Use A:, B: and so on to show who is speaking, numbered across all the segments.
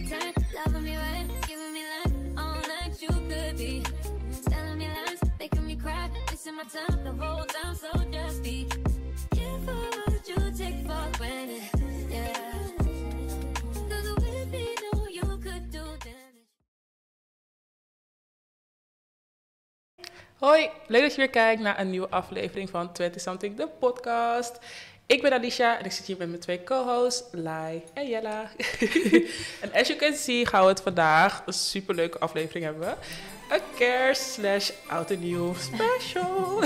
A: Loving me right, giving me life, all that you could be. Telling me lies, making me cry, wasting my time the whole time, so just be careful what you take for granted. Yeah, 'Cause with me, know you could do damage.
B: Hoi, leuk dat je weer kijkt naar een nieuwe aflevering van 20 Something, de podcast. Ik ben Alicia en ik zit hier met mijn twee co-hosts, Lai en Jella. en as you can see gaan we het vandaag een superleuke aflevering hebben. Een kerst slash oud en nieuw special.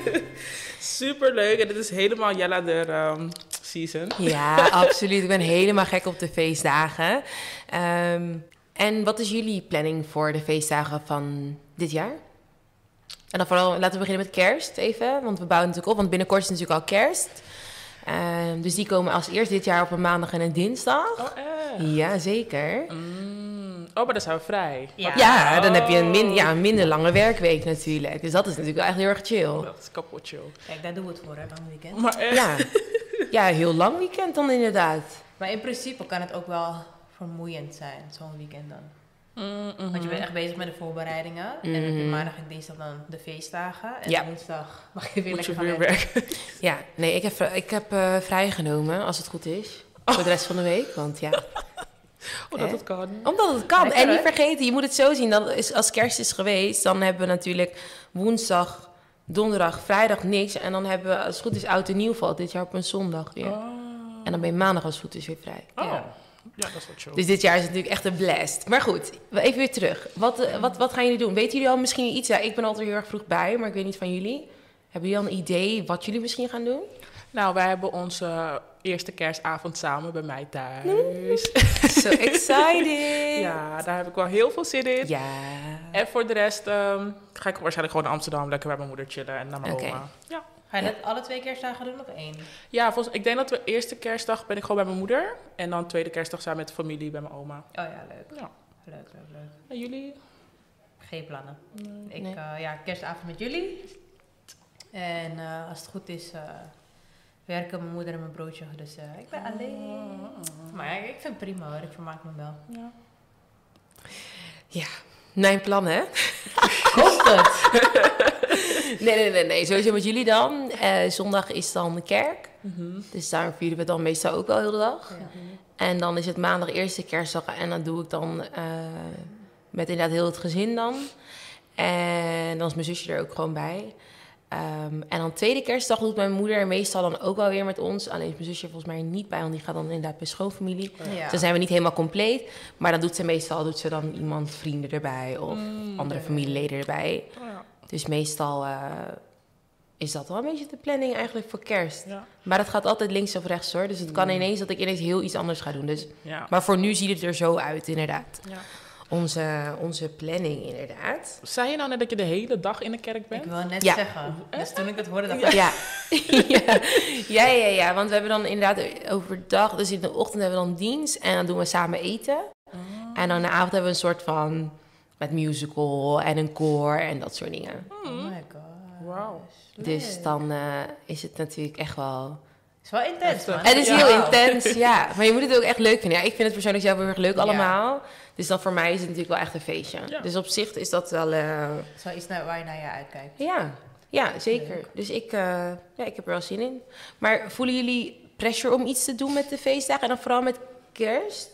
B: Superleuk en dit is helemaal Jella de ehm, season.
C: Ja, absoluut. Ik ben helemaal gek op de feestdagen. Ehm, en wat is jullie planning voor de feestdagen van dit jaar? En dan vooral, laten we beginnen met kerst even. Want we bouwen natuurlijk op, want binnenkort is natuurlijk al kerst. Ehm, dus die komen als eerst dit jaar op een maandag en een dinsdag.
B: Oh,
D: eh.
B: echt?
C: Ja, zeker.
B: Mm. Oh, maar dan zijn we vrij.
D: Ja.
C: Ja, dan heb je een, min,
B: Oh.
C: ja, een minder lange werkweek natuurlijk. Dus dat is natuurlijk echt heel erg chill.
B: Dat is kapot, joh.
D: Kijk, daar doen we het voor, hè, lang weekend.
B: Maar echt.
C: Ja, ja heel lang weekend dan inderdaad.
D: Maar in principe kan het ook wel vermoeiend zijn, zo'n weekend dan.
B: Mm, mhm.
D: Want je bent echt bezig met de voorbereidingen. En dan heb je
C: Mhm.
D: maandag en dinsdag dan de feestdagen. En
C: Ja.
D: woensdag mag je weer
B: Moet je
D: lekker
B: weer
D: gaan
B: werken.
C: Ja, nee, ik heb, ik heb eh, vrijgenomen, als het goed is. Voor de rest van de week, want ja.
B: Oh, dat
C: Hè?
B: het kan.
C: Omdat het kan.
D: Lekker,
C: en niet
D: hè?
C: vergeten, je moet het zo zien. Dat is, als kerst is geweest, dan hebben we natuurlijk woensdag, donderdag, vrijdag niks. En dan hebben we, als het goed is, oud en nieuw valt dit jaar op een zondag weer.
B: Oh.
C: En dan ben je maandag, als het goed is, weer vrij.
B: Oh.
D: Ja.
B: Ja, dat is wat chill.
C: Dus dit jaar is het natuurlijk echt een blast. Maar goed, even weer terug. Wat, eh, wat, wat gaan jullie doen? Weten jullie al misschien iets? Ja, ik ben altijd heel erg vroeg bij, maar ik weet niet van jullie. Hebben jullie al een idee wat jullie misschien gaan doen?
B: Nou, wij hebben onze eerste kerstavond samen bij mij thuis.
C: So excited!
B: Ja, daar heb ik wel heel veel zin in.
C: Ja.
B: En voor de rest ehm, ga ik waarschijnlijk gewoon naar Amsterdam lekker bij mijn moeder chillen en naar mijn
C: Oké.
B: oma. Ja,
D: Ga je dat alle twee kerstdagen doen of één?
B: ja volgens, ik denk dat we eerste kerstdag ben ik gewoon bij mijn moeder. En dan tweede kerstdag zijn met de familie bij mijn oma.
D: Oh ja, leuk.
B: Ja.
D: Leuk, leuk, leuk.
B: En jullie?
D: Geen plannen. ik,
C: Nee.
D: eh, ja, kerstavond met jullie. En eh, als het goed is, eh, werken mijn moeder en mijn broodje. Dus eh, ik
B: Ah.
D: ben alleen. Maar ja, ik vind het prima hoor, ik vermaak me wel.
B: Ja.
C: Mijn plan, hè?
D: Komt het?
C: Nee, nee, nee, nee. Sowieso met jullie dan. Eh, zondag is dan de kerk. Dus daar vieren we dan meestal ook wel heel de dag.
D: Mhm. Ja.
C: En dan is het maandag eerste kerstdag. En dat doe ik dan eh, met inderdaad heel het gezin dan. En dan is mijn zusje er ook gewoon bij. Ehm, en dan tweede kerstdag doet mijn moeder meestal dan ook wel weer met ons. Alleen is mijn zusje volgens mij niet bij, want die gaat dan inderdaad bij schoonfamilie.
D: Oh Ja.
C: Dus dan zijn we niet helemaal compleet. Maar dan doet ze meestal doet ze dan iemand, vrienden erbij of
D: Mm,
C: andere familieleden erbij.
B: Oh Ja.
C: Dus meestal eh, is dat wel een beetje de planning eigenlijk voor kerst.
B: Ja.
C: Maar dat gaat altijd links of rechts hoor. Dus het kan ineens dat ik ineens heel iets anders ga doen. Dus,
B: Ja.
C: maar voor nu ziet het er zo uit, inderdaad.
B: Ja.
C: Onze, onze planning, inderdaad.
B: Zei je nou net dat je de hele dag in de kerk
D: Ik
B: bent?
D: wil net
C: Ja.
D: zeggen. Dus toen ik het hoorde, dacht ik,
C: Ja. Ja. ja. ja, ja, want we hebben dan inderdaad overdag, dus in de ochtend hebben we dan dienst en dan doen we samen eten. En dan in de avond hebben we een soort van met musical en een koor en dat soort dingen.
D: oh my god.
B: Wauw.
C: Dus dan eh, is het natuurlijk echt wel
D: Het is wel intens, man.
C: Het is
B: Ja.
C: heel intens, ja. Maar je moet het ook echt leuk vinden. Ja, ik vind het persoonlijk zelf heel erg leuk
D: Ja.
C: allemaal. Dus dan voor mij is het natuurlijk wel echt een feestje.
B: Ja.
C: Dus op zich is dat wel... eh,
D: Het is wel iets naar, waar je naar je uitkijkt.
C: ja. ja, zeker. Dus ik, eh, ja, ik heb er wel zin in. Maar voelen jullie pressure om iets te doen met de feestdagen? En dan vooral met kerst?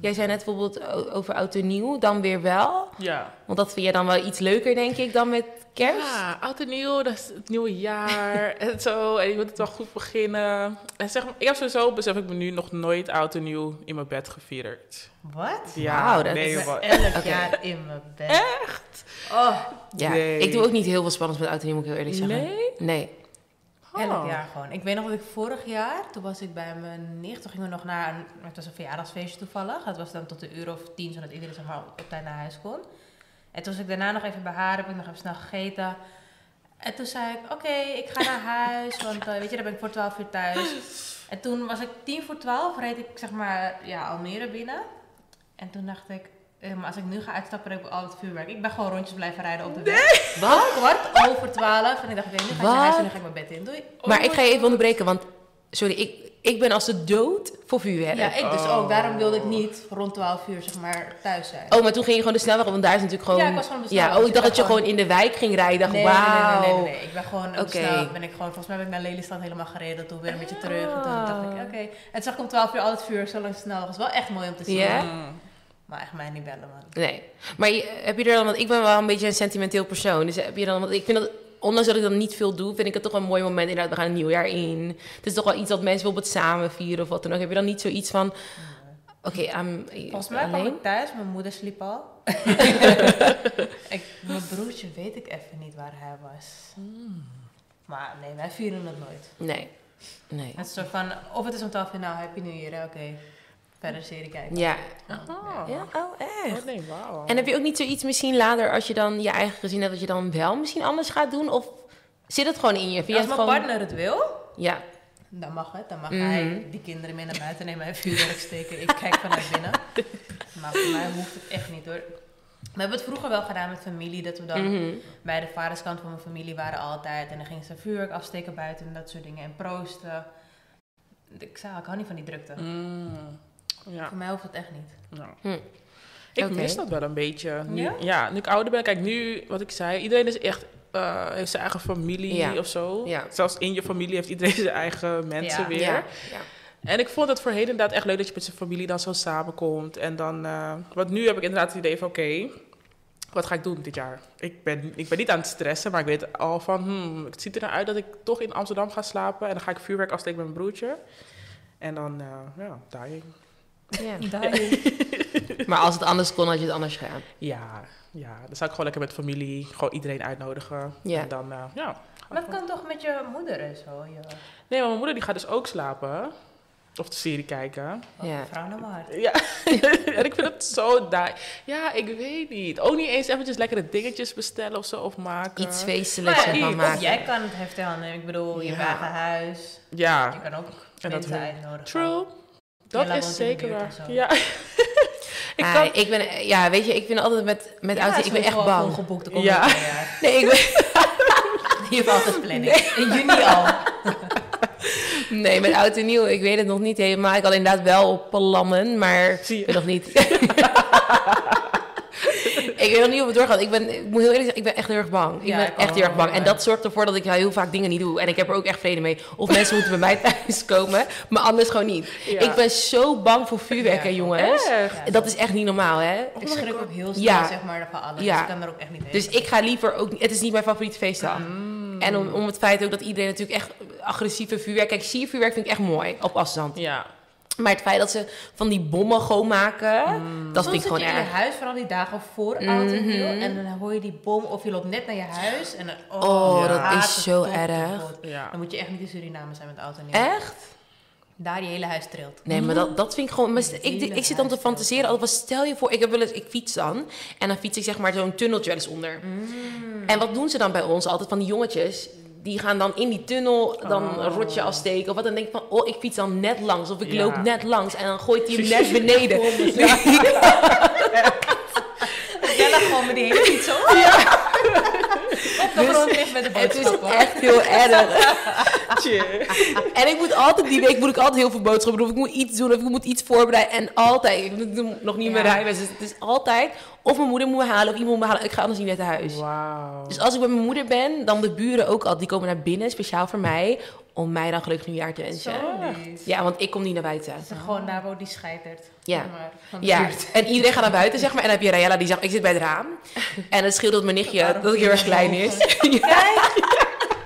C: Jij zei net bijvoorbeeld o- over oud en nieuw, dan weer wel.
B: Ja.
C: Want dat vind je dan wel iets leuker, denk ik, dan met kerst.
B: Ja, oud en nieuw, dat is het nieuwe jaar en zo. En je moet het wel goed beginnen. En zeg, maar, ik heb sowieso, besef ik me nu, nog nooit oud en nieuw in mijn bed gevierd.
D: Wat?
B: Ja,
C: Wauw, dat
B: nee,
C: is-
B: wa-
D: Elf
C: Oké.
D: jaar in mijn bed. Echt? Oh,
C: Ja,
B: Nee.
C: ik doe ook niet heel veel spannends met oud en nieuw, moet ik heel eerlijk zeggen.
B: Nee?
C: Nee. Oh.
D: elf jaar gewoon. Ik weet nog dat ik vorig jaar, toen was ik bij mijn nicht, toen gingen we nog naar, een, het was een verjaardagsfeestje toevallig. Dat was dan tot een uur of tien, zodat iedereen zeg maar, op tijd naar huis kon. En toen was ik daarna nog even bij haar, heb ik nog even snel gegeten. En toen zei ik, oké, ik ga naar huis, want eh, weet je, dan ben ik voor 12 uur thuis. En toen was ik tien voor 12, reed ik zeg maar ja, Almere binnen. En toen dacht ik, eh, maar als ik nu ga uitstappen, heb ik al het vuurwerk. Ik ben gewoon rondjes blijven rijden op de weg.
C: Wat?
D: Kwart over 12 en ik dacht, oké, nu ga ik naar
C: Wat?
D: huis en dan ga ik mijn bed in. Doei.
C: Maar ik ga je even onderbreken, want Sorry, ik, ik ben als de dood voor vuurwerk.
D: Ja, ik dus
B: Oh.
D: ook. Daarom wilde ik niet rond 12 uur zeg maar thuis zijn.
C: Oh, maar toen ging je gewoon de snelweg op, want daar is natuurlijk gewoon...
D: Ja, ik was gewoon op de
C: Ja,
D: snelweg,
C: oh, ik
D: dus
C: dacht
D: ik
C: dat je
D: was
C: gewoon in de wijk ging rijden. Ik dacht,
D: nee,
C: wauw.
D: nee, nee, nee, nee, nee. Ik ben gewoon op de
C: Oké.
D: snelweg ben ik gewoon, volgens mij ben ik naar Lelystad helemaal gereden. Toen weer een beetje terug. En toen dacht ik,
C: Ah.
D: oké. Het zag ik om 12 uur al het vuur, zo lang snel. Het was wel echt mooi om te zien.
C: Ja?
B: Mm.
D: Maar echt mij niet bellen, man.
C: Nee. Maar je- heb je er dan, want ik ben wel een beetje een sentimenteel persoon. Dus heb je dan, want ik vind dat, ondanks dat ik dan niet veel doe, vind ik het toch een mooi moment. Inderdaad, we gaan een nieuwjaar in. Het is toch wel iets dat mensen bijvoorbeeld samen vieren of wat dan ook. Heb je dan niet zoiets van, oké, I'm
D: Volgens mij kwam
C: alleen?
D: ik thuis, mijn moeder sliep al. ik, mijn broertje weet ik even niet waar hij was.
C: Hmm.
D: Maar nee, wij vieren het nooit.
C: Nee. Nee.
D: Het is soort van, of het is om 12 uur, nou, happy new year, hè, oké. Verder serie kijken.
C: Ja.
B: Oh.
C: Ja, oh echt.
B: Oh, nee, wauw.
C: En heb je ook niet zoiets misschien later, als je dan je eigen gezin hebt, dat je dan wel misschien anders gaat doen? Of zit het gewoon in je? Vind je
D: Als
C: het
D: mijn
C: gewoon...
D: partner het wil,
C: Ja.
D: dan mag het. Dan mag
C: Mhm.
D: hij die kinderen mee naar buiten nemen en vuurwerk steken. Ik kijk vanuit binnen. Maar voor mij hoeft het echt niet hoor. We hebben het vroeger wel gedaan met familie, dat we dan
C: Mhm.
D: bij de vaderskant van mijn familie waren altijd. En dan gingen ze vuurwerk afsteken buiten en dat soort dingen. En proosten. Ik zei, al, ik hou niet van die drukte.
B: Mm. Ja,
D: Voor mij hoeft het echt niet.
B: ja.
C: Hm.
B: Ik
C: Oké.
B: mis dat wel een beetje. Nu,
D: Ja?
B: ja? nu ik ouder ben, kijk nu, wat ik zei, iedereen is echt, eh, heeft zijn eigen familie
C: Ja.
B: of zo.
C: Ja.
B: Zelfs in je familie heeft iedereen zijn eigen mensen
D: Ja.
B: weer.
C: Ja. ja.
B: En ik vond het voorheen inderdaad echt leuk dat je met zijn familie dan zo samenkomt. En dan, eh, want nu heb ik inderdaad het idee van, oké, wat ga ik doen dit jaar? Ik ben, ik ben niet aan het stressen, maar ik weet al van, hmm, het ziet er nou uit dat ik toch in Amsterdam ga slapen. En dan ga ik vuurwerk afsteken met mijn broertje. En dan, eh ja, dying.
C: ja.
D: Dying.
C: Maar als het anders kon, had je het anders gedaan.
B: Ja, ja, dan zou ik gewoon lekker met familie, gewoon iedereen uitnodigen.
C: Ja.
B: En dan, eh, ja.
D: Maar het kan toch met je moeder en zo? Je
B: Nee, maar mijn moeder die gaat dus ook slapen. Of de serie kijken.
C: Ja.
D: vrouw nou naar mijn hart.
B: Ja, en ik vind het zo daai. Ja, ik weet niet. Ook niet eens eventjes lekkere dingetjes bestellen of zo, of maken.
C: Iets feestelijks
B: Eh, Maar ja,
C: ervan
B: iets.
C: maken.
D: Of jij kan het heftig aannemen. Ik bedoel, je
C: Ja.
D: hebt eigen huis. Je
B: Ja,
D: kan ook
B: dat
D: mensen
B: wil-
D: uitnodigen.
B: true.
D: Jella
B: Dat
D: woont in de
B: is zeker
D: buurt en
B: waar.
D: zo.
B: Ja. ik
C: Ah,
B: kan...
C: ik ben, ja, weet je, ik vind altijd met, met
D: Ja,
C: ouders,
D: ze
C: ik ben
D: heeft
C: echt
D: wel gewoon
C: bang.
D: geboekt de komende
B: Ja.
D: twee jaar.
C: Nee, ik ben-
D: Je hebt altijd planning. In juni al.
C: nee, met oud en nieuw, ik weet het nog niet helemaal. Ik had inderdaad wel op plannen, maar
B: Zie je.
C: ik weet nog niet. ik weet nog niet of het doorgaat. Ik, ben, ik moet heel eerlijk zeggen, ik ben echt heel erg bang. Ik
D: Ja,
C: ben
D: ik
C: echt
D: ook.
C: heel erg bang. En dat zorgt ervoor dat ik heel vaak dingen niet doe. En ik heb er ook echt vrede mee. Of mensen moeten bij mij thuis komen, maar anders gewoon niet.
B: Ja.
C: Ik ben zo bang voor vuurwerk,
D: Ja,
C: hè, jongens.
B: Echt?
D: Ja.
C: Dat is echt niet normaal, hè?
D: Ik schrik ook heel snel,
C: Ja.
D: zeg maar, van alles.
C: Ja.
D: Dus ik kan er ook echt niet heen.
C: Dus ik ga liever ook niet. Het is niet mijn favoriete feestdag.
D: Mm.
C: En om, om het feit ook dat iedereen natuurlijk echt agressieve vuurwerk. Kijk, zie je vuurwerk vind ik echt mooi op afstand.
B: Ja.
C: Maar het feit dat ze van die bommen gewoon maken, dat vind ik
D: Mm. Soms
C: gewoon
D: zit je in
C: erg. Mhm.
D: je huis, vooral die dagen voor oud en nieuw. En dan hoor je die bom of je loopt net naar je huis. En dan, oh,
C: Oh,
B: Ja.
C: dat
D: haat
C: is
D: het
C: zo
D: tot
C: erg.
D: kapot.
B: Ja.
D: Dan moet je echt niet in Suriname zijn met oud en nieuw.
C: Echt?
D: Daar je hele huis trilt.
C: Nee, maar dat, dat vind ik gewoon. maar
D: Hele
C: ik, ik zit dan te
D: huis.
C: fantaseren. Al was stel je voor, ik heb wel eens, ik fiets dan. En dan fiets ik zeg maar zo'n tunneltje wel eens onder.
D: Mm.
C: En wat doen ze dan bij ons altijd van die jongetjes? Die gaan dan in die tunnel dan
D: Oh.
C: een rotje afsteken of wat. Dan denk ik van, oh, ik fiets dan net langs of ik
B: Ja.
C: loop net langs. En dan gooit hij hem net beneden.
D: Jij lag gewoon met die hele fiets op. Op de grond ligt met de
C: Dus Het is
D: boodschap.
C: echt heel erg.
D: Ah.
B: Tje.
C: En ik moet altijd die week moet ik altijd heel veel boodschappen doen. Of ik moet iets doen of ik moet iets voorbereiden. En altijd, ik doe nog niet mijn
D: Ja.
C: rijbewijs. Dus het is altijd, of mijn moeder moet me halen of iemand moet me halen. Ik ga anders niet naar huis.
B: Wauw.
C: Dus als ik bij mijn moeder ben, dan de buren ook al. Die komen naar binnen, speciaal voor mij. Om mij dan gelukkig nieuwjaar te wensen.
D: Zo lief.
C: Ja, want ik kom niet naar buiten.
D: Het is gewoon daar waar die scheitert.
C: Ja.
D: Zeg maar, van de
C: Ja,
D: buurt.
C: en iedereen gaat naar buiten, zeg maar. En dan heb je Rayella die zegt, ik zit bij het raam. En het scheelt dat mijn nichtje, dat ik heel erg klein is.
D: Kijk.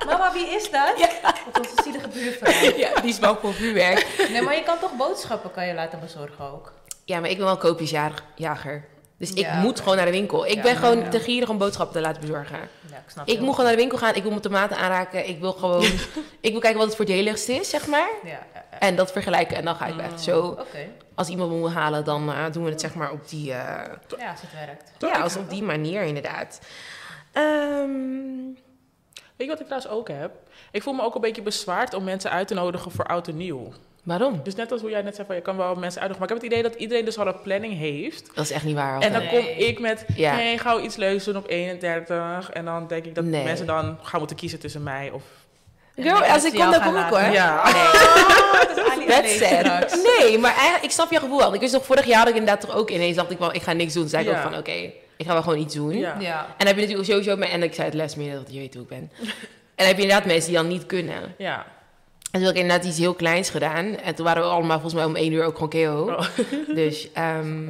D: Mama, wie is dat? Dat is onze zielige buurvrouw.
C: Ja, die is bang voor vuurwerk.
D: Nee, maar je kan toch boodschappen kan je laten bezorgen ook.
C: Ja, maar ik ben wel koopjesjager. Dus ik
D: Ja,
C: moet
D: oké.
C: gewoon naar de winkel. Ik
D: Ja,
C: ben gewoon
D: ja.
C: te gierig om boodschappen te laten bezorgen.
D: Ja, ik snap
C: Ik moet gewoon naar de winkel gaan. Ik wil mijn tomaten aanraken. Ik wil gewoon... ik wil kijken wat het voordeligste is, zeg maar.
D: Ja, ja, ja.
C: En dat vergelijken. En dan ga ik weg. Zo,
D: oké.
C: als iemand me moet halen, dan eh, doen we het zeg maar op die... eh,
D: Ja, als het werkt.
C: ja, als op die manier inderdaad. Ehm,
B: Weet je wat ik trouwens ook heb? Ik voel me ook een beetje bezwaard om mensen uit te nodigen voor oud en nieuw.
C: waarom?
B: Dus net als hoe jij net zei van je kan wel mensen uitnodigen. Maar ik heb het idee dat iedereen dus al een planning heeft.
C: Dat is echt niet waar.
B: En
C: Alfa.
B: dan kom ik met,
C: Ja.
B: nee, gauw iets leuks doen op 31. En dan denk ik dat
C: Nee.
B: mensen dan gaan moeten kiezen tussen mij of
D: En
C: Girl,
D: dat
C: als
D: ze
C: ik
D: jou
C: kon, dan
D: gaan
C: kom ik
D: laten. Oh,
C: hoor.
B: Ja.
C: Dat
D: That's
C: sad.
D: sad.
C: Nee, maar eigenlijk, ik snap je gevoel wel. Ik wist nog, vorig jaar had ik inderdaad toch ook ineens dacht ik wel, ik ga niks doen. Toen zei ik
B: Ja.
C: ook van, oké, ik ga wel gewoon iets doen.
B: Ja.
D: Ja.
C: En dan heb je natuurlijk sowieso mijn, en ik zei het les meer dat je weet hoe ik ben. en dan heb je inderdaad mensen die dan niet kunnen. En
B: Ja.
C: toen had ik inderdaad iets heel kleins gedaan. En toen waren we allemaal volgens mij om één uur ook gewoon KO.
B: Oh.
C: Dus ehm,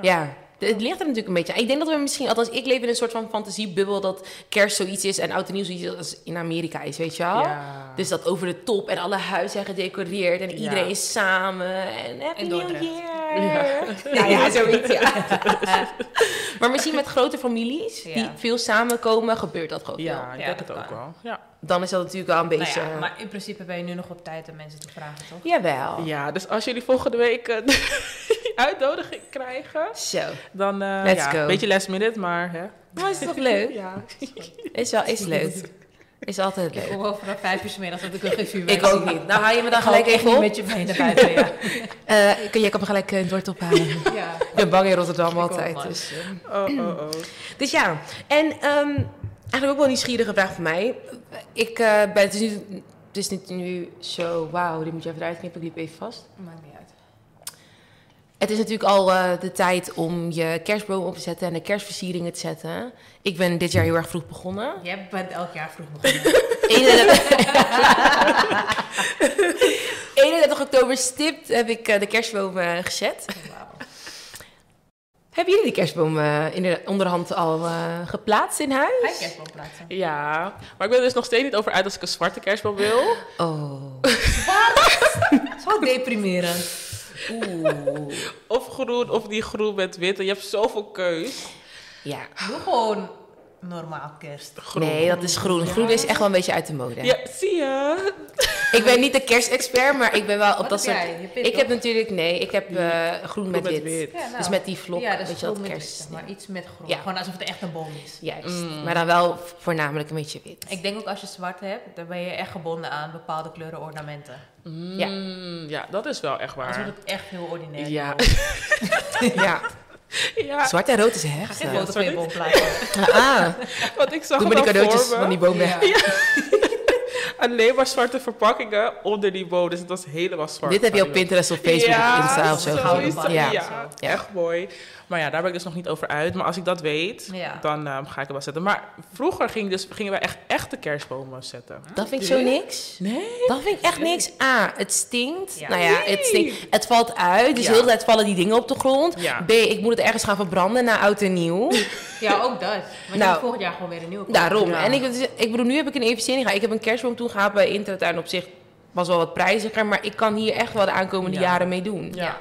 C: ja. De- Het ligt er natuurlijk een beetje aan. Ik denk dat we misschien, althans ik leef in een soort van fantasiebubbel dat kerst zoiets is en oud en nieuw zoiets is als in Amerika is, weet je wel?
B: Ja.
C: Dus dat over de top en alle huizen zijn gedecoreerd en iedereen is samen en Happy
D: In
C: New
D: Dordrecht.
C: Year. Ja, ja, zoiets, ja.
D: Eh, nou
C: maar misschien met grote families die
D: Ja.
C: veel samenkomen, gebeurt dat gewoon
B: Ja,
C: veel.
B: ik
D: Ja,
B: denk
D: dat
B: het ook
D: kan.
B: wel. Ja.
C: Dan is dat natuurlijk wel een
D: Nou
C: beetje... eh,
D: ja, maar in principe ben je nu nog op tijd om mensen te vragen, toch?
C: Jawel.
B: ja, dus als jullie volgende week een uitnodiging krijgen,
C: Zo.
B: dan eh
C: Let's
B: ja,
C: go.
B: beetje last minute, maar hè.
C: Maar is toch leuk?
B: Ja.
C: Is wel, is leuk. Is altijd
D: Ik
C: leuk.
D: kom wel vanaf vijf uur 's middags dat ik nog geen vuurwerk
C: Ik ook
D: zie.
C: niet. Nou haal je me dan
D: Ik ga
C: gelijk
D: ook echt
C: even
D: niet
C: op.
D: met je mee naar buiten, ja.
C: Eh, kun- jij kan me gelijk eh, in het woord ophalen.
D: ja.
C: ik ben bang in Rotterdam
D: ook,
C: altijd.
D: man.
C: Dus, eh.
B: Oh, oh, oh.
C: dus ja, en ehm, eigenlijk ook wel een nieuwsgierige vraag van mij. Ik eh, ben, het is nu, het is niet nu zo, wauw, dit moet je even eruit knippen, ik liep even vast.
D: Maakt niet uit.
C: Het is natuurlijk al eh, de tijd om je kerstboom op te zetten en de kerstversieringen te zetten. Ik ben dit jaar heel erg vroeg begonnen.
D: Jij bent elk jaar vroeg begonnen.
C: 31 31 oktober stipt heb ik eh, de kerstboom eh, gezet.
D: Wauw.
C: Hebben jullie de kerstboom eh, in de, onderhand al eh, geplaatst in huis?
D: Ga je kerstboom plaatsen?
B: Ja, maar ik ben er dus nog steeds niet over uit als ik een zwarte kerstboom wil.
C: Oh.
D: Zo deprimerend.
C: Oeh.
B: Of groen, of die groen met wit. En je hebt zoveel keus.
C: Ja.
D: Doe gewoon normaal kerst.
B: Groen.
C: Nee, dat is groen. Groen is echt wel een beetje uit de mode.
B: Ja, zie je?
C: Ik ben niet de kerstexpert, maar ik ben wel op
D: Wat
C: dat
D: heb
C: soort...
D: jij? Je pint
C: Ik heb
D: toch?
C: natuurlijk... Nee, ik heb eh, groen met
B: Mm. met
C: wit.
B: wit.
D: Ja, nou.
C: Dus met die vlok,
D: Ja, dat is
C: weet je wel,
D: groen met
C: kerst.
D: wit, zeg maar iets met groen.
C: Ja.
D: Gewoon alsof het echt een boom is.
C: Juist. Maar dan wel voornamelijk een beetje wit.
D: Ik denk ook als je zwart hebt, dan ben je echt gebonden aan bepaalde kleuren ornamenten.
C: Ja.
B: Mm, ja, dat is wel echt
D: Anders
B: waar.
D: wordt het echt heel ordinair.
B: Ja.
C: ja.
B: Ja,
C: Zwart en rood is heftig.
D: Geen foto van
B: sorry.
D: je boom plaatsen.
C: Ah,
B: want ik zag
C: doe maar die
B: het al
C: cadeautjes
B: voor
C: van
B: me.
C: die boom weg.
D: Ja.
B: Alleen maar zwarte verpakkingen onder die boom. Dus het was helemaal zwart.
C: Dit heb je op
B: Van die
C: Pinterest of Facebook
B: ja,
C: of Insta of zo.
B: zo is
C: gezien.
B: dat.
C: ja.
B: Ja. echt mooi. Maar ja, daar ben ik dus nog niet over uit. Maar als ik dat weet,
D: Ja.
B: dan ehm, ga ik het wel zetten. Maar vroeger ging dus, gingen wij echt echte kerstbomen zetten.
C: Dat vind ik zo niks.
B: Nee?
C: Dat vind ik echt niks. A, het stinkt.
D: Ja.
C: Nou ja, het stinkt. Het valt uit. Dus
B: Ja.
C: heel de hele tijd vallen die dingen op de grond.
B: Ja.
C: B, ik moet het ergens gaan verbranden na oud en nieuw.
D: Ja, ook dat. Maar je
C: Nou.
D: moet volgend jaar gewoon weer een nieuwe kopen.
C: Daarom.
B: Ja.
C: En ik, dus- ik bedoel, nu heb ik een investering gehad. Ik heb een kerstboom toegehaald bij Intratuin. Op zich was wel wat prijziger. Maar ik kan hier echt wel de aankomende
B: Ja.
C: jaren mee doen.
B: Ja.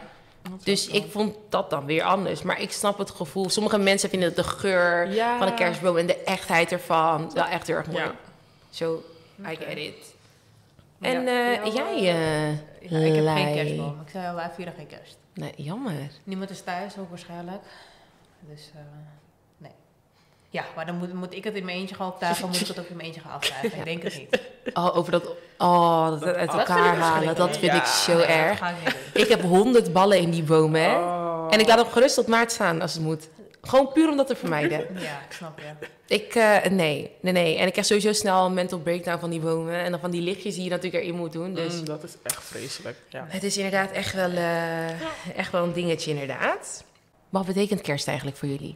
C: Dus ik vond dat dan weer anders. Maar ik snap het gevoel. Sommige mensen vinden de geur
B: Ja.
D: Ah.
C: van de kerstboom en de echtheid ervan wel echt heel erg mooi.
B: Ja.
C: Zo, I get it.
D: Ja.
C: En eh,
D: Ja,
C: jij, eh
D: Ja, ik heb geen
C: Lai?
D: kerstboom. Ik zei al, wij vieren geen kerst.
C: Nee, jammer.
D: Niemand is thuis, ook waarschijnlijk. Dus, eh, nee. Ja, maar dan moet, moet ik het in mijn eentje gaan optuigen, moet ik het ook in mijn eentje gaan aftuigen. Ik denk het niet.
C: Oh, over dat, oh, dat uit
D: vind ik
C: elkaar halen,
D: verschrikkelijk.
C: dat vind ik
B: Ja.
C: zo
D: Ah, Nee, dat
C: erg.
D: ga ik niet doen.
C: Ik heb honderd ballen in die boom, hè.
B: Oh.
C: En ik laat hem gerust tot maart staan als het moet. Gewoon puur om dat te vermijden.
D: Ja, ik snap je.
C: Ik, eh, nee, nee, nee. En ik krijg sowieso snel een mental breakdown van die bomen. En dan van die lichtjes die je natuurlijk erin moet doen. Dus
B: Mm, dat is echt vreselijk. Ja.
C: het is inderdaad echt wel, eh, echt wel een dingetje, inderdaad. Wat betekent kerst eigenlijk voor jullie?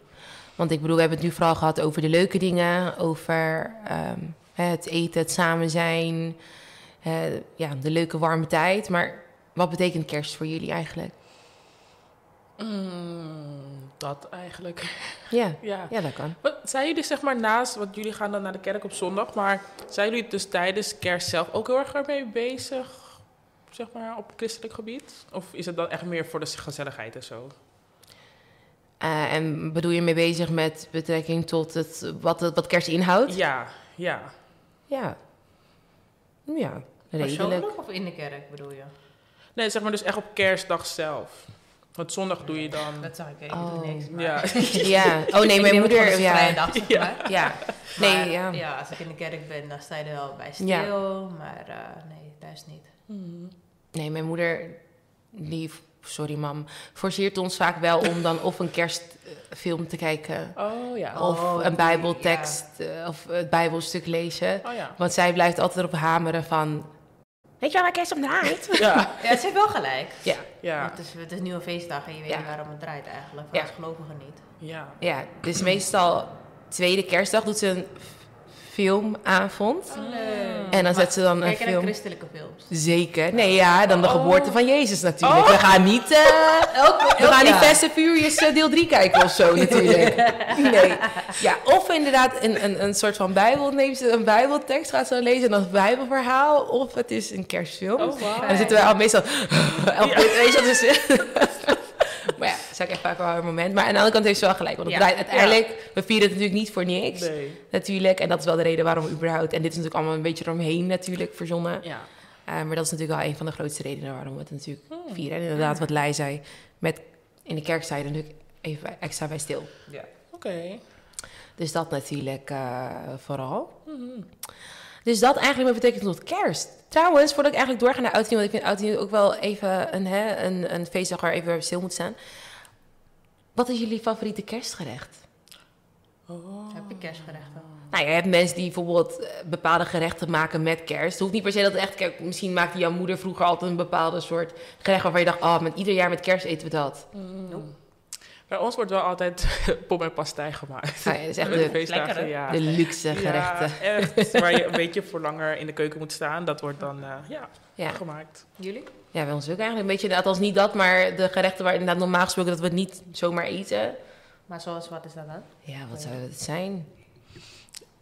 C: Want ik bedoel, we hebben het nu vooral gehad over de leuke dingen. Over ehm, hè, het eten, het samen zijn. eh, ja, de leuke warme tijd. Maar wat betekent kerst voor jullie eigenlijk?
B: Mm, dat eigenlijk.
C: Ja,
B: Ja.
C: ja dat kan.
B: Wat, zijn jullie zeg maar naast, want jullie gaan dan naar de kerk op zondag, maar zijn jullie dus tijdens kerst zelf ook heel erg ermee bezig, zeg maar, op christelijk gebied? Of is het dan echt meer voor de gezelligheid en zo?
C: Eh, en bedoel je mee bezig met betrekking tot het, wat, het- wat kerst inhoudt?
B: Ja, ja.
C: Ja. Ja, redelijk.
D: Persoonlijk of in de kerk bedoel je?
B: Nee, zeg maar dus echt op kerstdag zelf. Want zondag doe je dan...
D: Dat zag ik, ik
C: Oh,
D: doe niks. Maar
B: Ja,
C: Ja. Oh nee, mijn moeder. Ja.
D: Vrijdag, zeg
B: Ja.
D: maar.
C: ja.
D: Maar,
C: Nee, ja.
D: als ik in de kerk ben, dan sta je er wel bij stil.
C: Ja.
D: Maar eh, nee, thuis niet.
C: Nee, mijn moeder die sorry mam, forceert ons vaak wel om dan of een kerstfilm te kijken.
B: Oh ja.
C: Of
D: Oh, die,
C: een bijbeltekst eh, of het bijbelstuk lezen.
B: Oh ja.
C: Want zij blijft altijd erop hameren van... Weet je waar kerst om draait?
B: Ja,
D: Ja, ze heeft wel gelijk.
C: ja,
B: ja,
D: Het, is, het is nu een feestdag en je weet
C: Ja.
D: niet waarom het draait eigenlijk.
C: Ja.
D: Ja. Als gelovigen niet.
B: ja.
C: ja, dus meestal tweede kerstdag doet ze een f- filmavond. Oh. En dan zet ze dan een
D: Kijk naar
C: film.
D: christelijke films.
C: Zeker. Nee, ja, dan de
B: Oh.
C: geboorte van Jezus natuurlijk. We gaan niet, eh we gaan niet Fast and Furious eh, deel 3 kijken of zo natuurlijk. Nee. Ja, of inderdaad een, een, een soort van bijbel. Neemt ze een bijbeltekst, gaat ze dan lezen en dat bijbelverhaal. Of het is een kerstfilm.
B: Oh, wauw.
C: En dan zitten we al meestal... elf minuten, weet je, dat is... maar ja, dat is ook echt vaak wel een moment. Maar aan de andere kant heeft ze wel gelijk. Want het
D: Ja.
C: draait uiteindelijk... We vieren het natuurlijk niet voor niks.
B: Nee.
C: Natuurlijk. En dat is wel de reden waarom überhaupt... En dit is natuurlijk allemaal een beetje eromheen natuurlijk verzonnen.
B: Ja.
C: Eh, maar dat is natuurlijk wel een van de grootste redenen waarom we het natuurlijk vieren. En inderdaad, wat Lei zei, met, in de kerk sta je er natuurlijk even bij- extra bij stil.
D: Ja.
B: Oké.
C: Dus dat natuurlijk eh, vooral. Dus dat eigenlijk met betekenis tot kerst. Trouwens, voordat ik eigenlijk doorga naar Oud en Nieuw, want ik vind Oud en Nieuw ook wel even een, hè, een, een feestdag waar even bij stil moet staan. Wat is jullie favoriete kerstgerecht? Oh.
D: Heb je kerstgerechten?
C: Nou, ja, je hebt mensen die bijvoorbeeld eh, bepaalde gerechten maken met kerst. Het hoeft niet per se dat het echt... Kijk, misschien maakte jouw moeder vroeger altijd een bepaalde soort gerecht... waarvan je dacht, oh, met ieder jaar met kerst eten we dat.
B: Bij ons wordt wel altijd pom en pastei gemaakt.
C: Nou ja, dat is echt
B: Met de
C: de,
B: feestdagen,
D: Lekker, hè?
B: ja.
C: de luxe gerechten.
B: Ja, echt. Waar je een beetje voor langer in de keuken moet staan. Dat wordt dan eh, ja,
C: Ja.
B: gemaakt.
D: Jullie?
C: ja, bij ons ook eigenlijk een beetje... Althans niet dat, maar de gerechten waar inderdaad normaal gesproken... dat we het niet zomaar eten.
D: Maar zoals wat is dat dan?
C: Ja, wat zou dat zijn?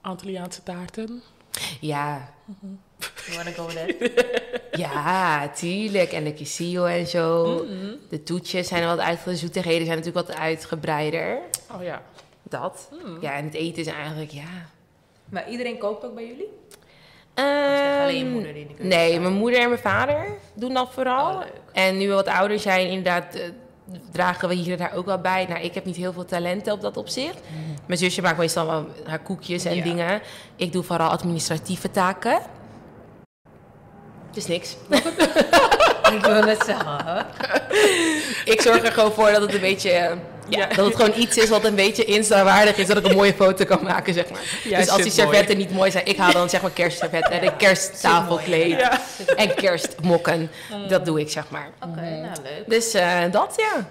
B: Antilliaanse taarten.
C: Ja,
D: You wanna go there?
C: ja, tuurlijk. En de quesillo en zo. De toetjes zijn wat uitgebreider. De zoetigheden zijn natuurlijk wat uitgebreider.
B: Oh ja.
C: Dat. Ja, en het eten is eigenlijk, ja...
D: maar iedereen kookt ook bij jullie?
C: Ehm,
D: alleen je moeder die in de keuken
C: Nee,
D: staat?
C: mijn moeder en mijn vader doen dat vooral.
D: Oh, leuk.
C: en nu we wat ouder zijn, inderdaad, eh, dragen we hier en daar ook wel bij. Nou, ik heb niet heel veel talenten op dat opzicht. Mijn zusje maakt meestal wel haar koekjes en
D: Mhm. Ja.
C: dingen. Ik doe vooral administratieve taken. Het is niks.
D: Ik wil het zeggen. hè?
C: ik zorg er gewoon voor dat het een beetje... eh, Ja, Dat het gewoon iets is wat een beetje insta-waardig is. Dat ik een mooie foto kan maken, zeg maar.
B: Ja,
C: dus als
B: shit,
C: die servetten niet mooi zijn... Ik haal dan zeg maar kerstservetten en een kersttafelkleed.
B: Ja.
C: En kerstmokken. Dat doe ik, zeg maar.
D: Oké, nou leuk.
C: Dus eh, dat, ja.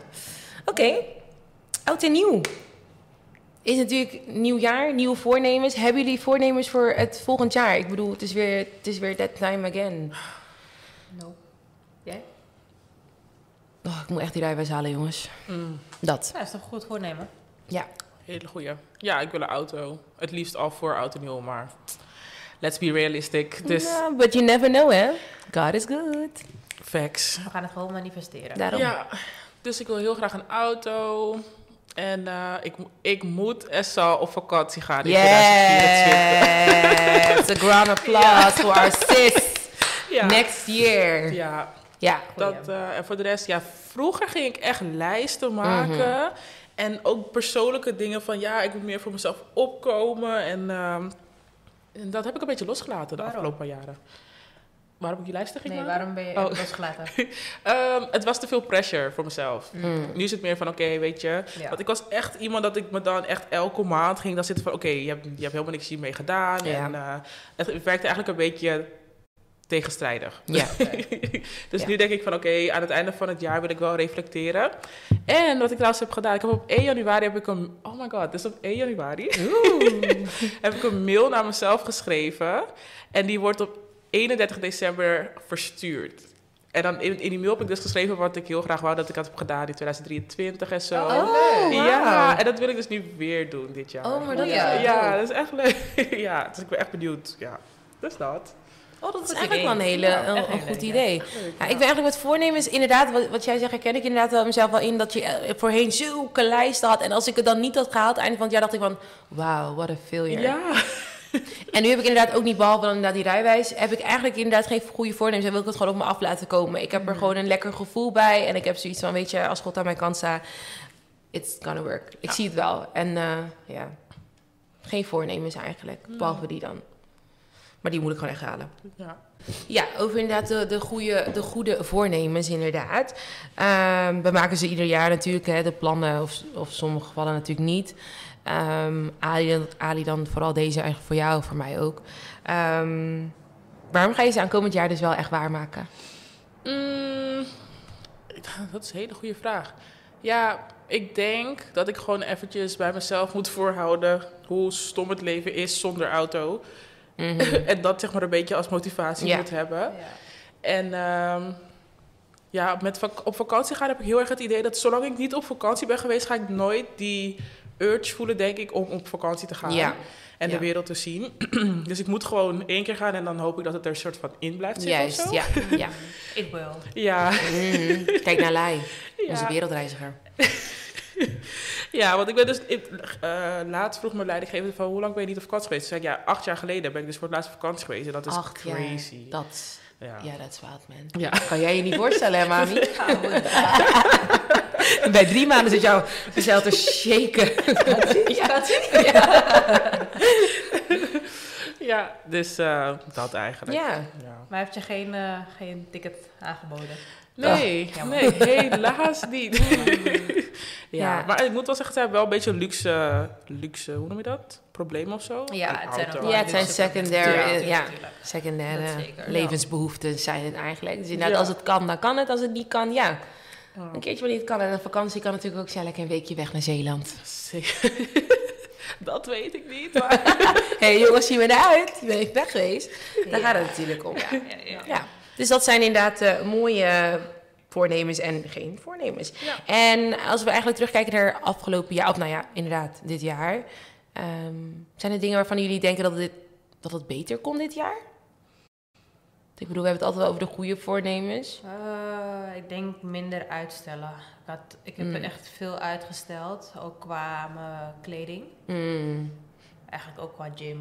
C: Oké. Oud en nieuw. Is natuurlijk nieuw jaar, nieuwe voornemens. Hebben jullie voornemens voor het volgend jaar? Ik bedoel, het is weer, het is weer that time again.
D: No. Jij?
C: Oh, ik moet echt die rijbewijs halen, jongens. Dat.
D: Ja, is toch goed voornemen?
C: Ja.
B: Hele goeie. Ja, ik wil een auto. Het liefst al voor oud en nieuw, maar let's be realistic. Dus
C: Nou, but you never know, hè? God is good.
B: facts.
D: We gaan het gewoon manifesteren.
C: Daarom.
B: Ja, dus ik wil heel graag een auto. En eh, ik, mo- ik moet en zal op vakantie gaan in 2024.
C: Yes. A grand applause for our sis.
B: Ja.
C: Next year. Ja.
B: Ja, dat, eh, en voor de rest, ja, vroeger ging ik echt lijsten maken. En ook persoonlijke dingen van, ja, ik moet meer voor mezelf opkomen. En, ehm, en dat heb ik een beetje losgelaten de
D: Waarom?
B: afgelopen jaren. Waarom ik die lijsten ging
D: Nee,
B: maken?
D: waarom ben je
B: Oh.
D: losgelaten?
B: Ehm, het was te veel pressure voor mezelf.
C: Mm.
B: Nu is het meer van, oké, weet je.
D: Ja.
B: Want ik was echt iemand dat ik me dan echt elke maand ging dan zitten van... Oké, je, hebt, je hebt helemaal niks hiermee gedaan.
C: Ja.
B: En eh, het, het werkte eigenlijk een beetje tegenstrijdig.
C: Ja.
B: dus
C: Ja.
B: nu denk ik van, oké, aan het einde van het jaar wil ik wel reflecteren. En wat ik trouwens heb gedaan, ik heb op 1 januari heb ik een... Oh my god, dus op 1 januari heb ik een mail naar mezelf geschreven. En die wordt op 31 december verstuurd. En dan in, in die mail heb ik dus geschreven wat ik heel graag wou dat ik had gedaan in 2023 en zo.
C: Oh, wauw.
B: Ja, en dat wil ik dus nu weer doen dit jaar.
C: Oh, maar dat
D: Ja.
C: is wel
B: ja,
C: dope.
B: dat is echt leuk. ja, dus ik ben echt benieuwd. Ja, dus dat.
D: Oh, dat
C: Dat is eigenlijk wel een, hele, een, een goed idee. Ja, ik ben eigenlijk met voornemens, inderdaad, wat, wat jij zegt, herken ik inderdaad wel mezelf wel in dat je eh, voorheen zulke lijsten had. En als ik het dan niet had gehaald, einde van het jaar dacht ik van, wauw, what a failure.
B: Ja.
C: En nu heb ik inderdaad ook niet, behalve dan inderdaad die rijwijs, heb ik eigenlijk inderdaad geen goede voornemens. En wil ik het gewoon op me af laten komen. Ik heb er gewoon een lekker gevoel bij. En ik heb zoiets van, weet je, als God aan mijn kant staat, it's gonna work. Ik zie het wel. En eh, ja, geen voornemens eigenlijk, behalve die dan. Maar Maar die moet ik gewoon echt halen.
B: Ja.
C: Ja, over inderdaad de, de, goede, de goede voornemens, inderdaad. Ehm, we maken ze ieder jaar natuurlijk, hè, de plannen, of, of sommige gevallen natuurlijk niet. Ehm, Ali, dan- Ali, dan vooral deze eigenlijk voor jou, voor mij ook. Ehm, waarom ga je ze aankomend jaar dus wel echt waarmaken?
B: Mm, dat is een hele goede vraag. Ja, ik denk dat ik gewoon eventjes bij mezelf moet voorhouden hoe stom het leven is zonder auto. Mhm. en dat zeg maar een beetje als motivatie
C: Ja.
B: moet hebben.
D: Ja.
B: En ehm, ja, met vak- op vakantie gaan heb ik heel erg het idee dat zolang ik niet op vakantie ben geweest, ga ik nooit die urge voelen, denk ik, om op vakantie te gaan.
C: Ja.
B: En
C: Ja.
B: de wereld te zien. dus ik moet gewoon één keer gaan en dan hoop ik dat het er een soort van in blijft zitten. of
C: Juist,
B: zo.
C: ja. ja.
D: Ik wil.
B: Ja.
C: Mhm. Kijk naar Lai, onze
B: Ja.
C: wereldreiziger.
B: Ja, want ik ben dus... ik- eh, laatst vroeg mijn leidinggever van hoe lang ben je niet op vakantie geweest? Toen zei ik, ja, acht jaar geleden ben ik dus voor het laatst op vakantie geweest. En dat is
C: Acht jaar.
B: crazy.
C: Dat,
B: Ja.
C: ja, dat is wild, man.
B: Ja.
C: Kan jij je niet voorstellen, hè, mami?
D: Ja, goed.
C: Bij drie maanden zit jou zelf te shaken. Ja.
B: Ja, dus eh, dat eigenlijk.
C: ja.
B: Ja.
D: Maar heeft je geen, eh, geen ticket aangeboden?
B: Nee,
D: jammer.
B: nee, helaas niet. ja,
C: Ja.
B: maar ik moet wel zeggen, het zijn wel een beetje luxe, luxe hoe noem je dat? Probleem of zo?
D: Ja,
B: Een
D: het zijn eh,
B: auto.
D: ook
C: wel- Ja, het zijn secundaire,
D: Tuurlijk,
C: ja.
D: tuurlijk. Dat
C: Secundaire
D: zeker.
C: levensbehoeften zijn het eigenlijk. Dus inderdaad,
B: Ja.
C: als het kan, dan kan het. Als het niet kan, ja.
B: Ja.
C: Een keertje wanneer het kan. En een vakantie kan natuurlijk ook zijn lekker een weekje weg naar Zeeland.
B: Zeker. dat weet ik niet, maar...
C: Hé hey, jongens, zien we eruit? Je bent even weg geweest. Daar gaat het natuurlijk om.
D: Ja, ja, ja.
C: Ja, dus dat zijn inderdaad eh, mooie eh, voornemens en geen voornemens.
B: Ja.
C: En als we eigenlijk terugkijken naar afgelopen jaar, of nou ja, inderdaad, dit jaar. ehm, zijn er dingen waarvan jullie denken dat, dit, dat het beter kon dit jaar? Want Ik bedoel, we hebben het altijd wel over de goede voornemens.
D: Eh, ik denk minder uitstellen. Ik, had, ik heb
C: Mm.
D: echt veel uitgesteld, ook qua mijn kleding.
C: Mm,
D: Eigenlijk ook qua gym,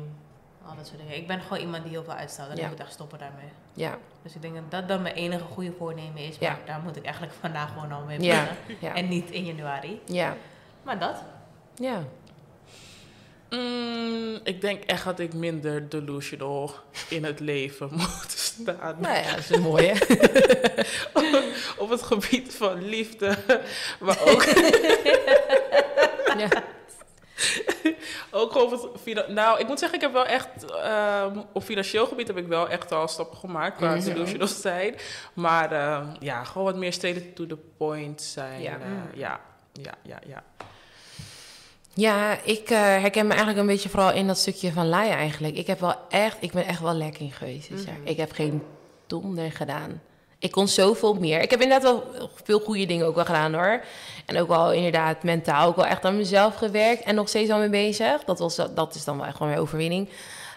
D: al dat soort dingen. Ik ben gewoon iemand die heel veel uitstelt en
C: Ja.
D: ik moet echt stoppen daarmee.
C: ja,
D: Dus ik denk dat dat dan mijn enige goede voornemen is. Maar
C: Ja.
D: daar moet ik eigenlijk vandaag gewoon al mee
C: ja,
D: beginnen.
C: ja,
D: En niet in januari.
C: ja,
D: Maar dat.
C: ja.
B: Mm, ik denk echt dat ik minder delusional in het leven moet staan.
C: Nou ja, dat is een mooie.
B: Op het gebied van liefde, maar ook,
C: ja.
B: ook op het... finan- Nou, ik moet zeggen, ik heb wel echt... ehm, op financieel gebied heb ik wel echt al stappen gemaakt qua
C: Mhm.
B: delusional zijn. Maar ehm, ja, gewoon wat meer straight to the point zijn.
C: Ja. Hmm.
B: Ja, ja, ja, ja. ja.
C: Ja, ik eh, herken me eigenlijk een beetje vooral in dat stukje van Laia eigenlijk. Ik heb wel echt, ik ben echt wel lek in geweest dit jaar.
D: Mhm.
C: Ik heb geen donder gedaan. Ik kon zoveel meer. Ik heb inderdaad wel veel goede dingen ook wel gedaan hoor. En ook wel inderdaad mentaal ook wel echt aan mezelf gewerkt en nog steeds al mee bezig. Dat, was, dat is dan wel echt gewoon mijn overwinning.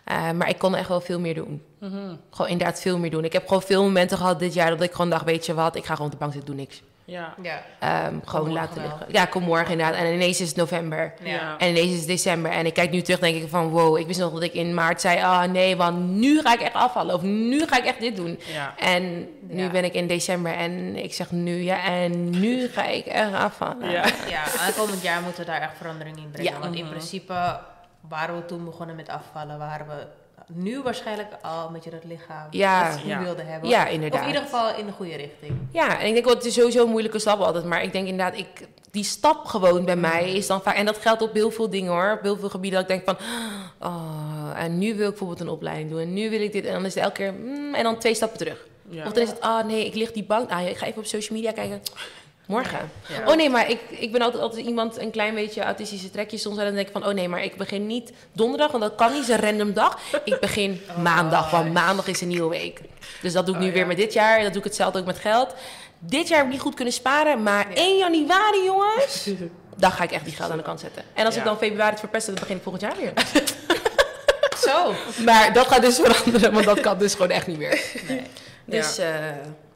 C: Eh, maar ik kon echt wel veel meer doen.
D: Mhm.
C: Gewoon inderdaad veel meer doen. Ik heb gewoon veel momenten gehad dit jaar dat ik gewoon dacht, weet je wat, ik ga gewoon op de bank zitten, doe niks.
B: Ja.
D: Ja.
C: Ehm, gewoon
D: morgen
C: laten
D: wel.
C: liggen. Ja, kom morgen inderdaad. En ineens is het november.
D: Ja.
B: Ja.
C: En ineens is het december. En ik kijk nu terug, denk ik van wow, ik wist nog dat ik in maart zei, ah nee, want nu ga ik echt afvallen. Of nu ga ik echt dit doen.
B: Ja.
C: En nu
D: Ja.
C: ben ik in december en ik zeg nu ja, en nu ga ik echt afvallen.
B: Ja.
D: Ja, aankomend jaar moeten we daar echt verandering in brengen.
C: Ja. Mhm.
D: Want in principe waren we toen begonnen met afvallen, waren we nu waarschijnlijk al een beetje dat lichaam
C: Ja.
D: dat we
B: Ja.
D: wilden hebben.
C: Ja, inderdaad.
D: Of in ieder geval in de goede richting.
C: Ja, en ik denk wel, het is sowieso een moeilijke stap altijd. Maar ik denk inderdaad, ik, die stap gewoon bij mij is dan vaak... En dat geldt op heel veel dingen hoor. Op heel veel gebieden dat ik denk van... Oh, en nu wil ik bijvoorbeeld een opleiding doen. En nu wil ik dit. En dan is het elke keer... mm, en dan twee stappen terug.
B: Ja.
C: Of dan is het... Oh nee, ik lig die bank aan. Ik ga even op social media kijken. Morgen.
B: Ja.
C: Oh nee, maar ik, ik ben altijd, altijd iemand een klein beetje autistische trekjes. Soms en dan denk ik van, oh nee, maar ik begin niet donderdag, want dat kan niet, is een random dag. Ik begin
B: Oh,
C: maandag, want maandag is een nieuwe week. Dus dat doe ik nu weer met dit jaar. Dat doe ik hetzelfde ook met geld. Dit jaar heb ik niet goed kunnen sparen, maar 1 januari, jongens, dan ga ik echt die geld aan de kant zetten. En als ik
B: Ja.
C: dan februari het verpest, heb, dan begin ik volgend jaar weer.
D: Zo.
C: Maar dat gaat dus veranderen, want dat kan dus gewoon echt niet meer. Dus, eh,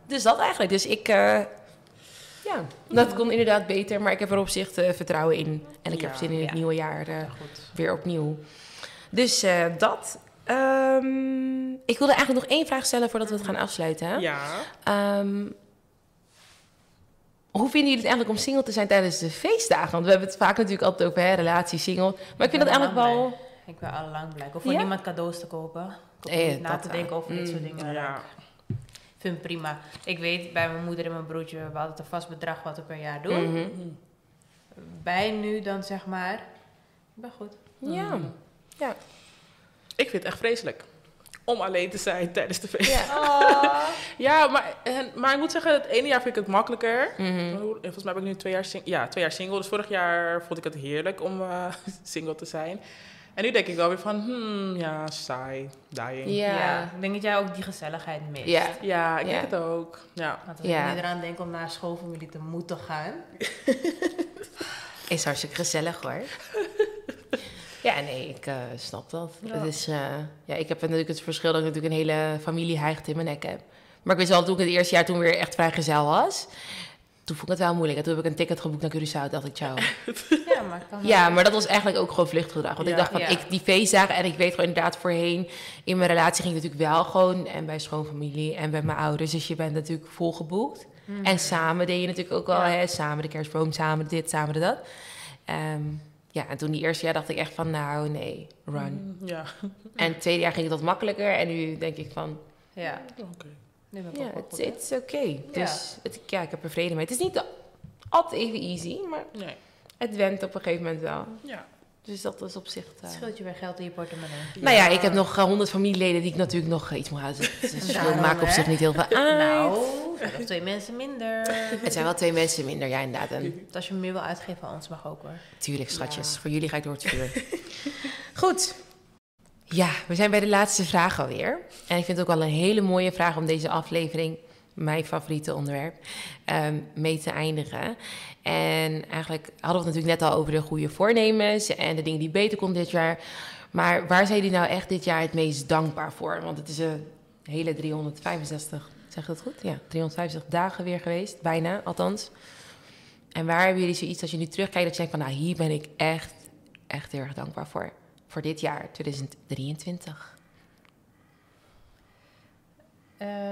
C: dus dat eigenlijk. Dus ik, eh, ja, dat kon inderdaad beter. Maar ik heb er op zich eh, vertrouwen in. En ik heb
B: Ja,
C: zin in het
D: ja.
C: nieuwe jaar eh,
D: Goed.
C: weer opnieuw. Dus eh, dat. Ehm, ik wilde eigenlijk nog één vraag stellen voordat we het gaan afsluiten. hè.
B: Ja.
C: Ehm, hoe vinden jullie het eigenlijk om single te zijn tijdens de feestdagen? Want we hebben het vaak natuurlijk altijd over hè, relatie, single. Maar ik vind dat
D: ben
C: eigenlijk
D: al lang
C: wel...
D: blij. Ik ben al lang blij. Ik hoef voor
C: Ja?
D: niemand cadeaus te kopen. Ik tot
C: Eh,
D: niet na
C: dat
D: te
C: wel.
D: denken over dit
C: Mm,
D: soort dingen.
B: Ja.
D: Ik vind het prima. Ik weet, bij mijn moeder en mijn broertje, we hadden altijd een vast bedrag wat we per jaar doen.
C: Mhm.
D: Bij nu dan zeg maar, ik ben goed.
C: Ja. Ja.
B: Ik vind het echt vreselijk. Om alleen te zijn tijdens de feest. Ja,
C: ja. Ah.
B: maar, en- maar ik moet zeggen, het ene jaar vind ik het makkelijker.
C: Mhm.
B: Hoe- Volgens mij ben ik nu twee jaar, sing- ja, twee jaar single. Dus vorig jaar vond ik het heerlijk om eh, single te zijn. En nu denk ik wel weer van, hmm, ja, saai, dying. Ja,
C: Ja.
D: Ik denk dat jij ook die gezelligheid mist.
C: Ja.
B: ik
C: Ja.
B: denk het ook. Ja.
D: Want als
C: Ja.
D: ik nu eraan denk om naar schoolfamilie te moeten gaan.
C: Is hartstikke gezellig hoor. Ja, nee, ik eh, snap dat.
D: Ja.
C: Het is, eh, ja, ik heb natuurlijk het verschil dat ik natuurlijk een hele familie hijgt in mijn nek heb. Maar ik wist wel, toen ik het eerste jaar toen weer echt vrijgezel was, toen vond ik het wel moeilijk. En toen heb ik een ticket geboekt naar Curaçao, dacht ik, ciao.
D: Ja, maar ik kan wel-
C: Ja, maar dat was eigenlijk ook gewoon vluchtgedrag. Want
B: Ja.
C: ik dacht van,
D: Ja.
C: ik, die feestdagen, en ik weet gewoon inderdaad voorheen, in mijn relatie ging het natuurlijk wel gewoon, en bij schoonfamilie en bij mijn ouders, dus je bent natuurlijk volgeboekt. En samen deed je natuurlijk ook wel,
D: Mhm. Ja.
C: hè, samen de kerstboom, samen dit, samen dat. Ehm, ja, en toen die eerste jaar dacht ik echt van, nou nee, run.
B: Mm, Ja,
D: Mhm.
C: En het tweede jaar ging het wat makkelijker en nu denk ik van,
D: Ja,
B: oké.
D: nu ben ik
C: ja,
D: ook wel
C: het
D: goed, hè?
C: is oké. Dus het, ja, ik heb er vrede mee. Het is niet altijd even easy, maar
B: Nee,
C: het went op een gegeven moment wel.
B: ja.
C: Dus dat is op zich... eh,
D: Het scheelt je weer geld in je portemonnee.
C: Nou ja, ik heb nog honderd familieleden die ik natuurlijk nog eh, iets moet houden. Dus het verschil
D: Daarom,
C: maakt op
D: hè?
C: zich niet heel veel uit.
D: Nou, zijn nog twee mensen minder.
C: Het zijn wel twee mensen minder, ja inderdaad. En
D: Want als je meer wil uitgeven aan ons, mag ook hoor.
C: tuurlijk, schatjes, voor jullie ga ik door het vuur. Goed. Ja, we zijn bij de laatste vraag alweer. En ik vind het ook wel een hele mooie vraag om deze aflevering, mijn favoriete onderwerp, ehm, mee te eindigen. En eigenlijk hadden we het natuurlijk net al over de goede voornemens en de dingen die beter konden dit jaar. Maar waar zijn jullie nou echt dit jaar het meest dankbaar voor? Want het is een hele 365, zeg ik dat goed? Ja, 365 dagen weer geweest, bijna althans. En waar hebben jullie zoiets als je nu terugkijkt dat je denkt van nou hier ben ik echt, echt heel erg dankbaar voor. Voor dit jaar, 2023.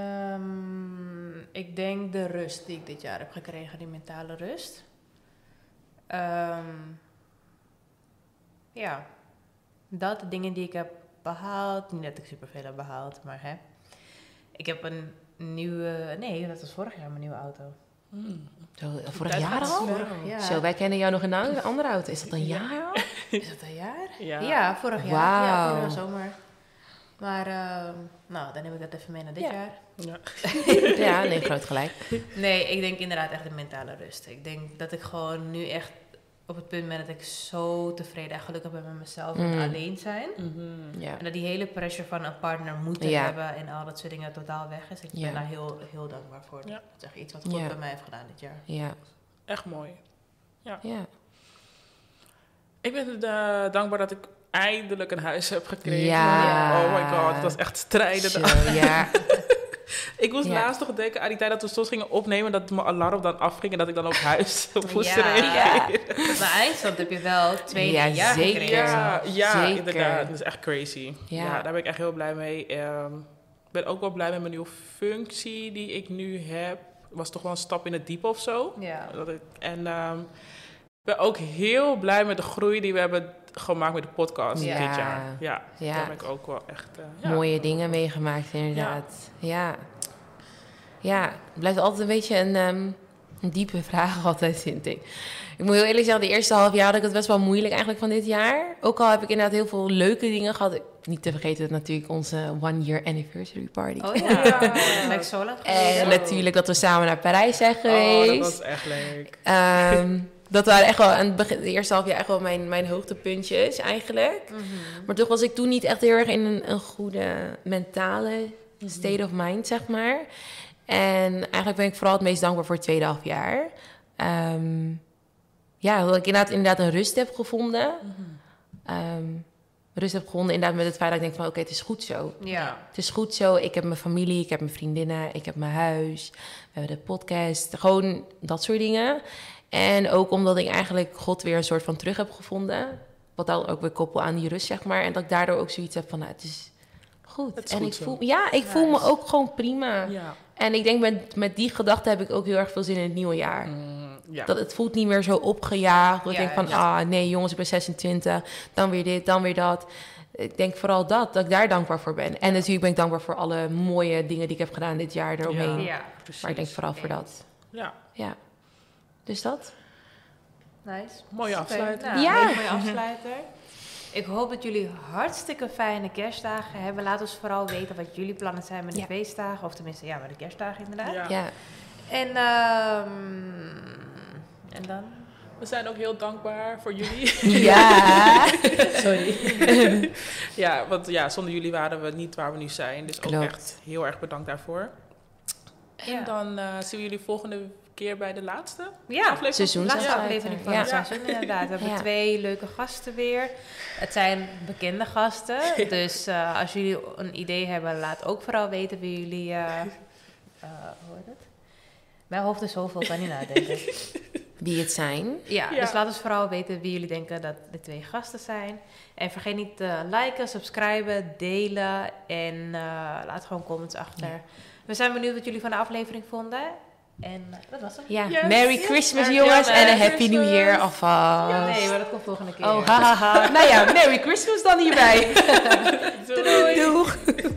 D: Ehm, ik denk de rust die ik dit jaar heb gekregen, die mentale rust. Ehm, ja, dat, de dingen die ik heb behaald. Niet dat ik superveel heb behaald, maar hè. Ik heb een nieuwe, nee, dat was vorig jaar mijn nieuwe auto.
C: Zo, eh, vorig
B: Tijd
C: jaar
B: gaat
C: al?
B: snel.
D: Vorig jaar.
C: Zo, wij kennen jou nog in een andere auto. Is dat een jaar al?
D: Is dat een jaar?
B: Ja.
D: Ja, vorig jaar. Ja,
C: Wauw.
D: vorige zomer. Maar, ehm, nou, dan neem ik dat even mee naar dit
C: Ja.
D: jaar.
B: Ja.
C: Ja, nee, groot gelijk.
D: Nee, ik denk inderdaad echt de mentale rust. Ik denk dat ik gewoon nu echt op het punt ben dat ik zo tevreden en gelukkig ben met mezelf en
C: Mm.
D: alleen zijn.
B: Mhm.
C: Ja.
D: En dat die hele pressure van een partner moeten
C: Ja.
D: hebben en al dat soort dingen totaal weg is. Ik
C: Ja.
D: ben daar heel, heel dankbaar voor.
B: Ja.
D: Dat is echt iets wat God
C: Ja.
D: bij mij heeft gedaan dit jaar.
C: Ja,
B: Echt mooi.
C: ja.
B: Ik ben eh, dankbaar dat ik eindelijk een huis heb gekregen.
C: Ja.
B: Oh my god, het was echt strijden.
C: Zo, ja.
B: Ik moest
C: Ja.
B: laatst nog denken aan die tijd dat we soms gingen opnemen... dat mijn alarm dan afging en dat ik dan op huis moest
D: Ja.
B: reageren.
C: Ja.
D: Maar eindstand heb je wel twee
C: Ja,
D: jaar
C: zeker.
D: gekregen.
B: Ja, ja
C: Zeker.
B: inderdaad. Dat is echt crazy.
C: Ja.
B: Ja. daar ben ik echt heel blij mee. Ehm, Ik ben ook wel blij met mijn nieuwe functie die ik nu heb. was toch wel een stap in het diepe of zo.
D: Ja.
B: Dat ik, en ehm, ik ben ook heel blij met de groei die we hebben gemaakt met de podcast
D: Ja.
B: dit jaar. Ja,
C: Ja.
B: daar ben ik ook wel echt... eh, ja.
C: Mooie dingen meegemaakt, inderdaad. Ja. Ja, het blijft altijd een beetje een, ehm, een diepe vraag altijd, vind ik. Ik moet heel eerlijk zeggen, de eerste half jaar had ik het best wel moeilijk eigenlijk van dit jaar. Ook al heb ik inderdaad heel veel leuke dingen gehad. Niet te vergeten natuurlijk onze one-year anniversary party.
D: Oh ja, dat lijkt zo lang
C: En
D: geleden.
C: natuurlijk dat we samen naar Parijs zijn
B: Oh,
C: geweest.
B: dat was echt leuk.
C: Ehm, dat waren echt wel aan het begin, de eerste half jaar echt wel mijn, mijn hoogtepuntjes eigenlijk. Maar toch was ik toen niet echt heel erg in een, een goede mentale state of mind, zeg maar. En eigenlijk ben ik vooral het meest dankbaar voor het tweede half jaar. Ehm, ja, dat ik inderdaad, inderdaad een rust heb gevonden. Ehm, rust heb gevonden inderdaad met het feit dat ik denk van oké, het is goed zo.
D: Ja.
C: Het is goed zo. Ik heb mijn familie, ik heb mijn vriendinnen, ik heb mijn huis. We hebben de podcast. Gewoon dat soort dingen. En ook omdat ik eigenlijk God weer een soort van terug heb gevonden. Wat dan ook weer koppel aan die rust, zeg maar. En dat ik daardoor ook zoiets heb van, nou, het is goed.
B: Het is
C: en
B: goed
C: ik
B: zo.
C: voel, ja, ik voel me
D: Nice.
C: ook gewoon prima.
B: Ja.
C: En ik denk met, met die gedachte heb ik ook heel erg veel zin in het nieuwe jaar.
B: Mm, ja.
C: Dat het voelt niet meer zo opgejaagd. Dat ik
D: Ja,
C: denk van, ah nee jongens, ik ben 26. Dan weer dit, dan weer dat. ik denk vooral dat, dat ik daar dankbaar voor ben. En natuurlijk ben ik dankbaar voor alle mooie dingen die ik heb gedaan dit jaar eromheen.
B: Ja.
D: Ja,
C: Maar ik denk vooral voor
D: Eens.
C: dat.
B: Ja,
C: Ja. Dus dat?
D: nice.
B: Mooie
D: Oké,
B: afsluiter.
D: nou,
C: Ja.
D: hele mooie afsluiter. Ik hoop dat jullie hartstikke fijne kerstdagen hebben. Laat ons vooral weten wat jullie plannen zijn met de
C: Ja.
D: feestdagen. Of tenminste, ja, met de kerstdagen inderdaad.
B: ja.
C: Ja.
D: En, ehm, en dan?
B: We zijn ook heel dankbaar voor jullie.
C: Ja.
D: Sorry.
B: ja, want ja, zonder jullie waren we niet waar we nu zijn. Dus ook
C: Klopt.
B: echt heel erg bedankt daarvoor. En dan eh, zien we jullie volgende keer bij de laatste
D: Ja.
B: aflevering.
C: Seizoens-
D: Laatste
B: Ja.
D: aflevering van
C: Ja.
D: het seizoen, inderdaad. We hebben
C: Ja.
D: twee leuke gasten weer. Het zijn bekende gasten. Dus eh, als jullie een idee hebben, laat ook vooral weten wie jullie... eh, eh, hoe heet het? Mijn hoofd is zoveel, ik kan niet nadenken.
C: Wie het zijn.
D: Ja,
B: Ja.
D: dus laat ons vooral weten wie jullie denken dat de twee gasten zijn. En vergeet niet te liken, subscriben, delen en eh, laat gewoon comments achter. We zijn benieuwd wat jullie van de aflevering vonden. En eh, dat was hem.
C: Ja.
B: Yes.
C: Merry
B: Yes.
C: Christmas
B: Merry
C: jongens en een
B: Christmas. Oh,
C: Happy New Year alvast.
D: Nee, maar dat komt volgende keer.
C: Oh, hahaha. nou ja, Merry Christmas dan hierbij.
B: Doei.
C: Doeg.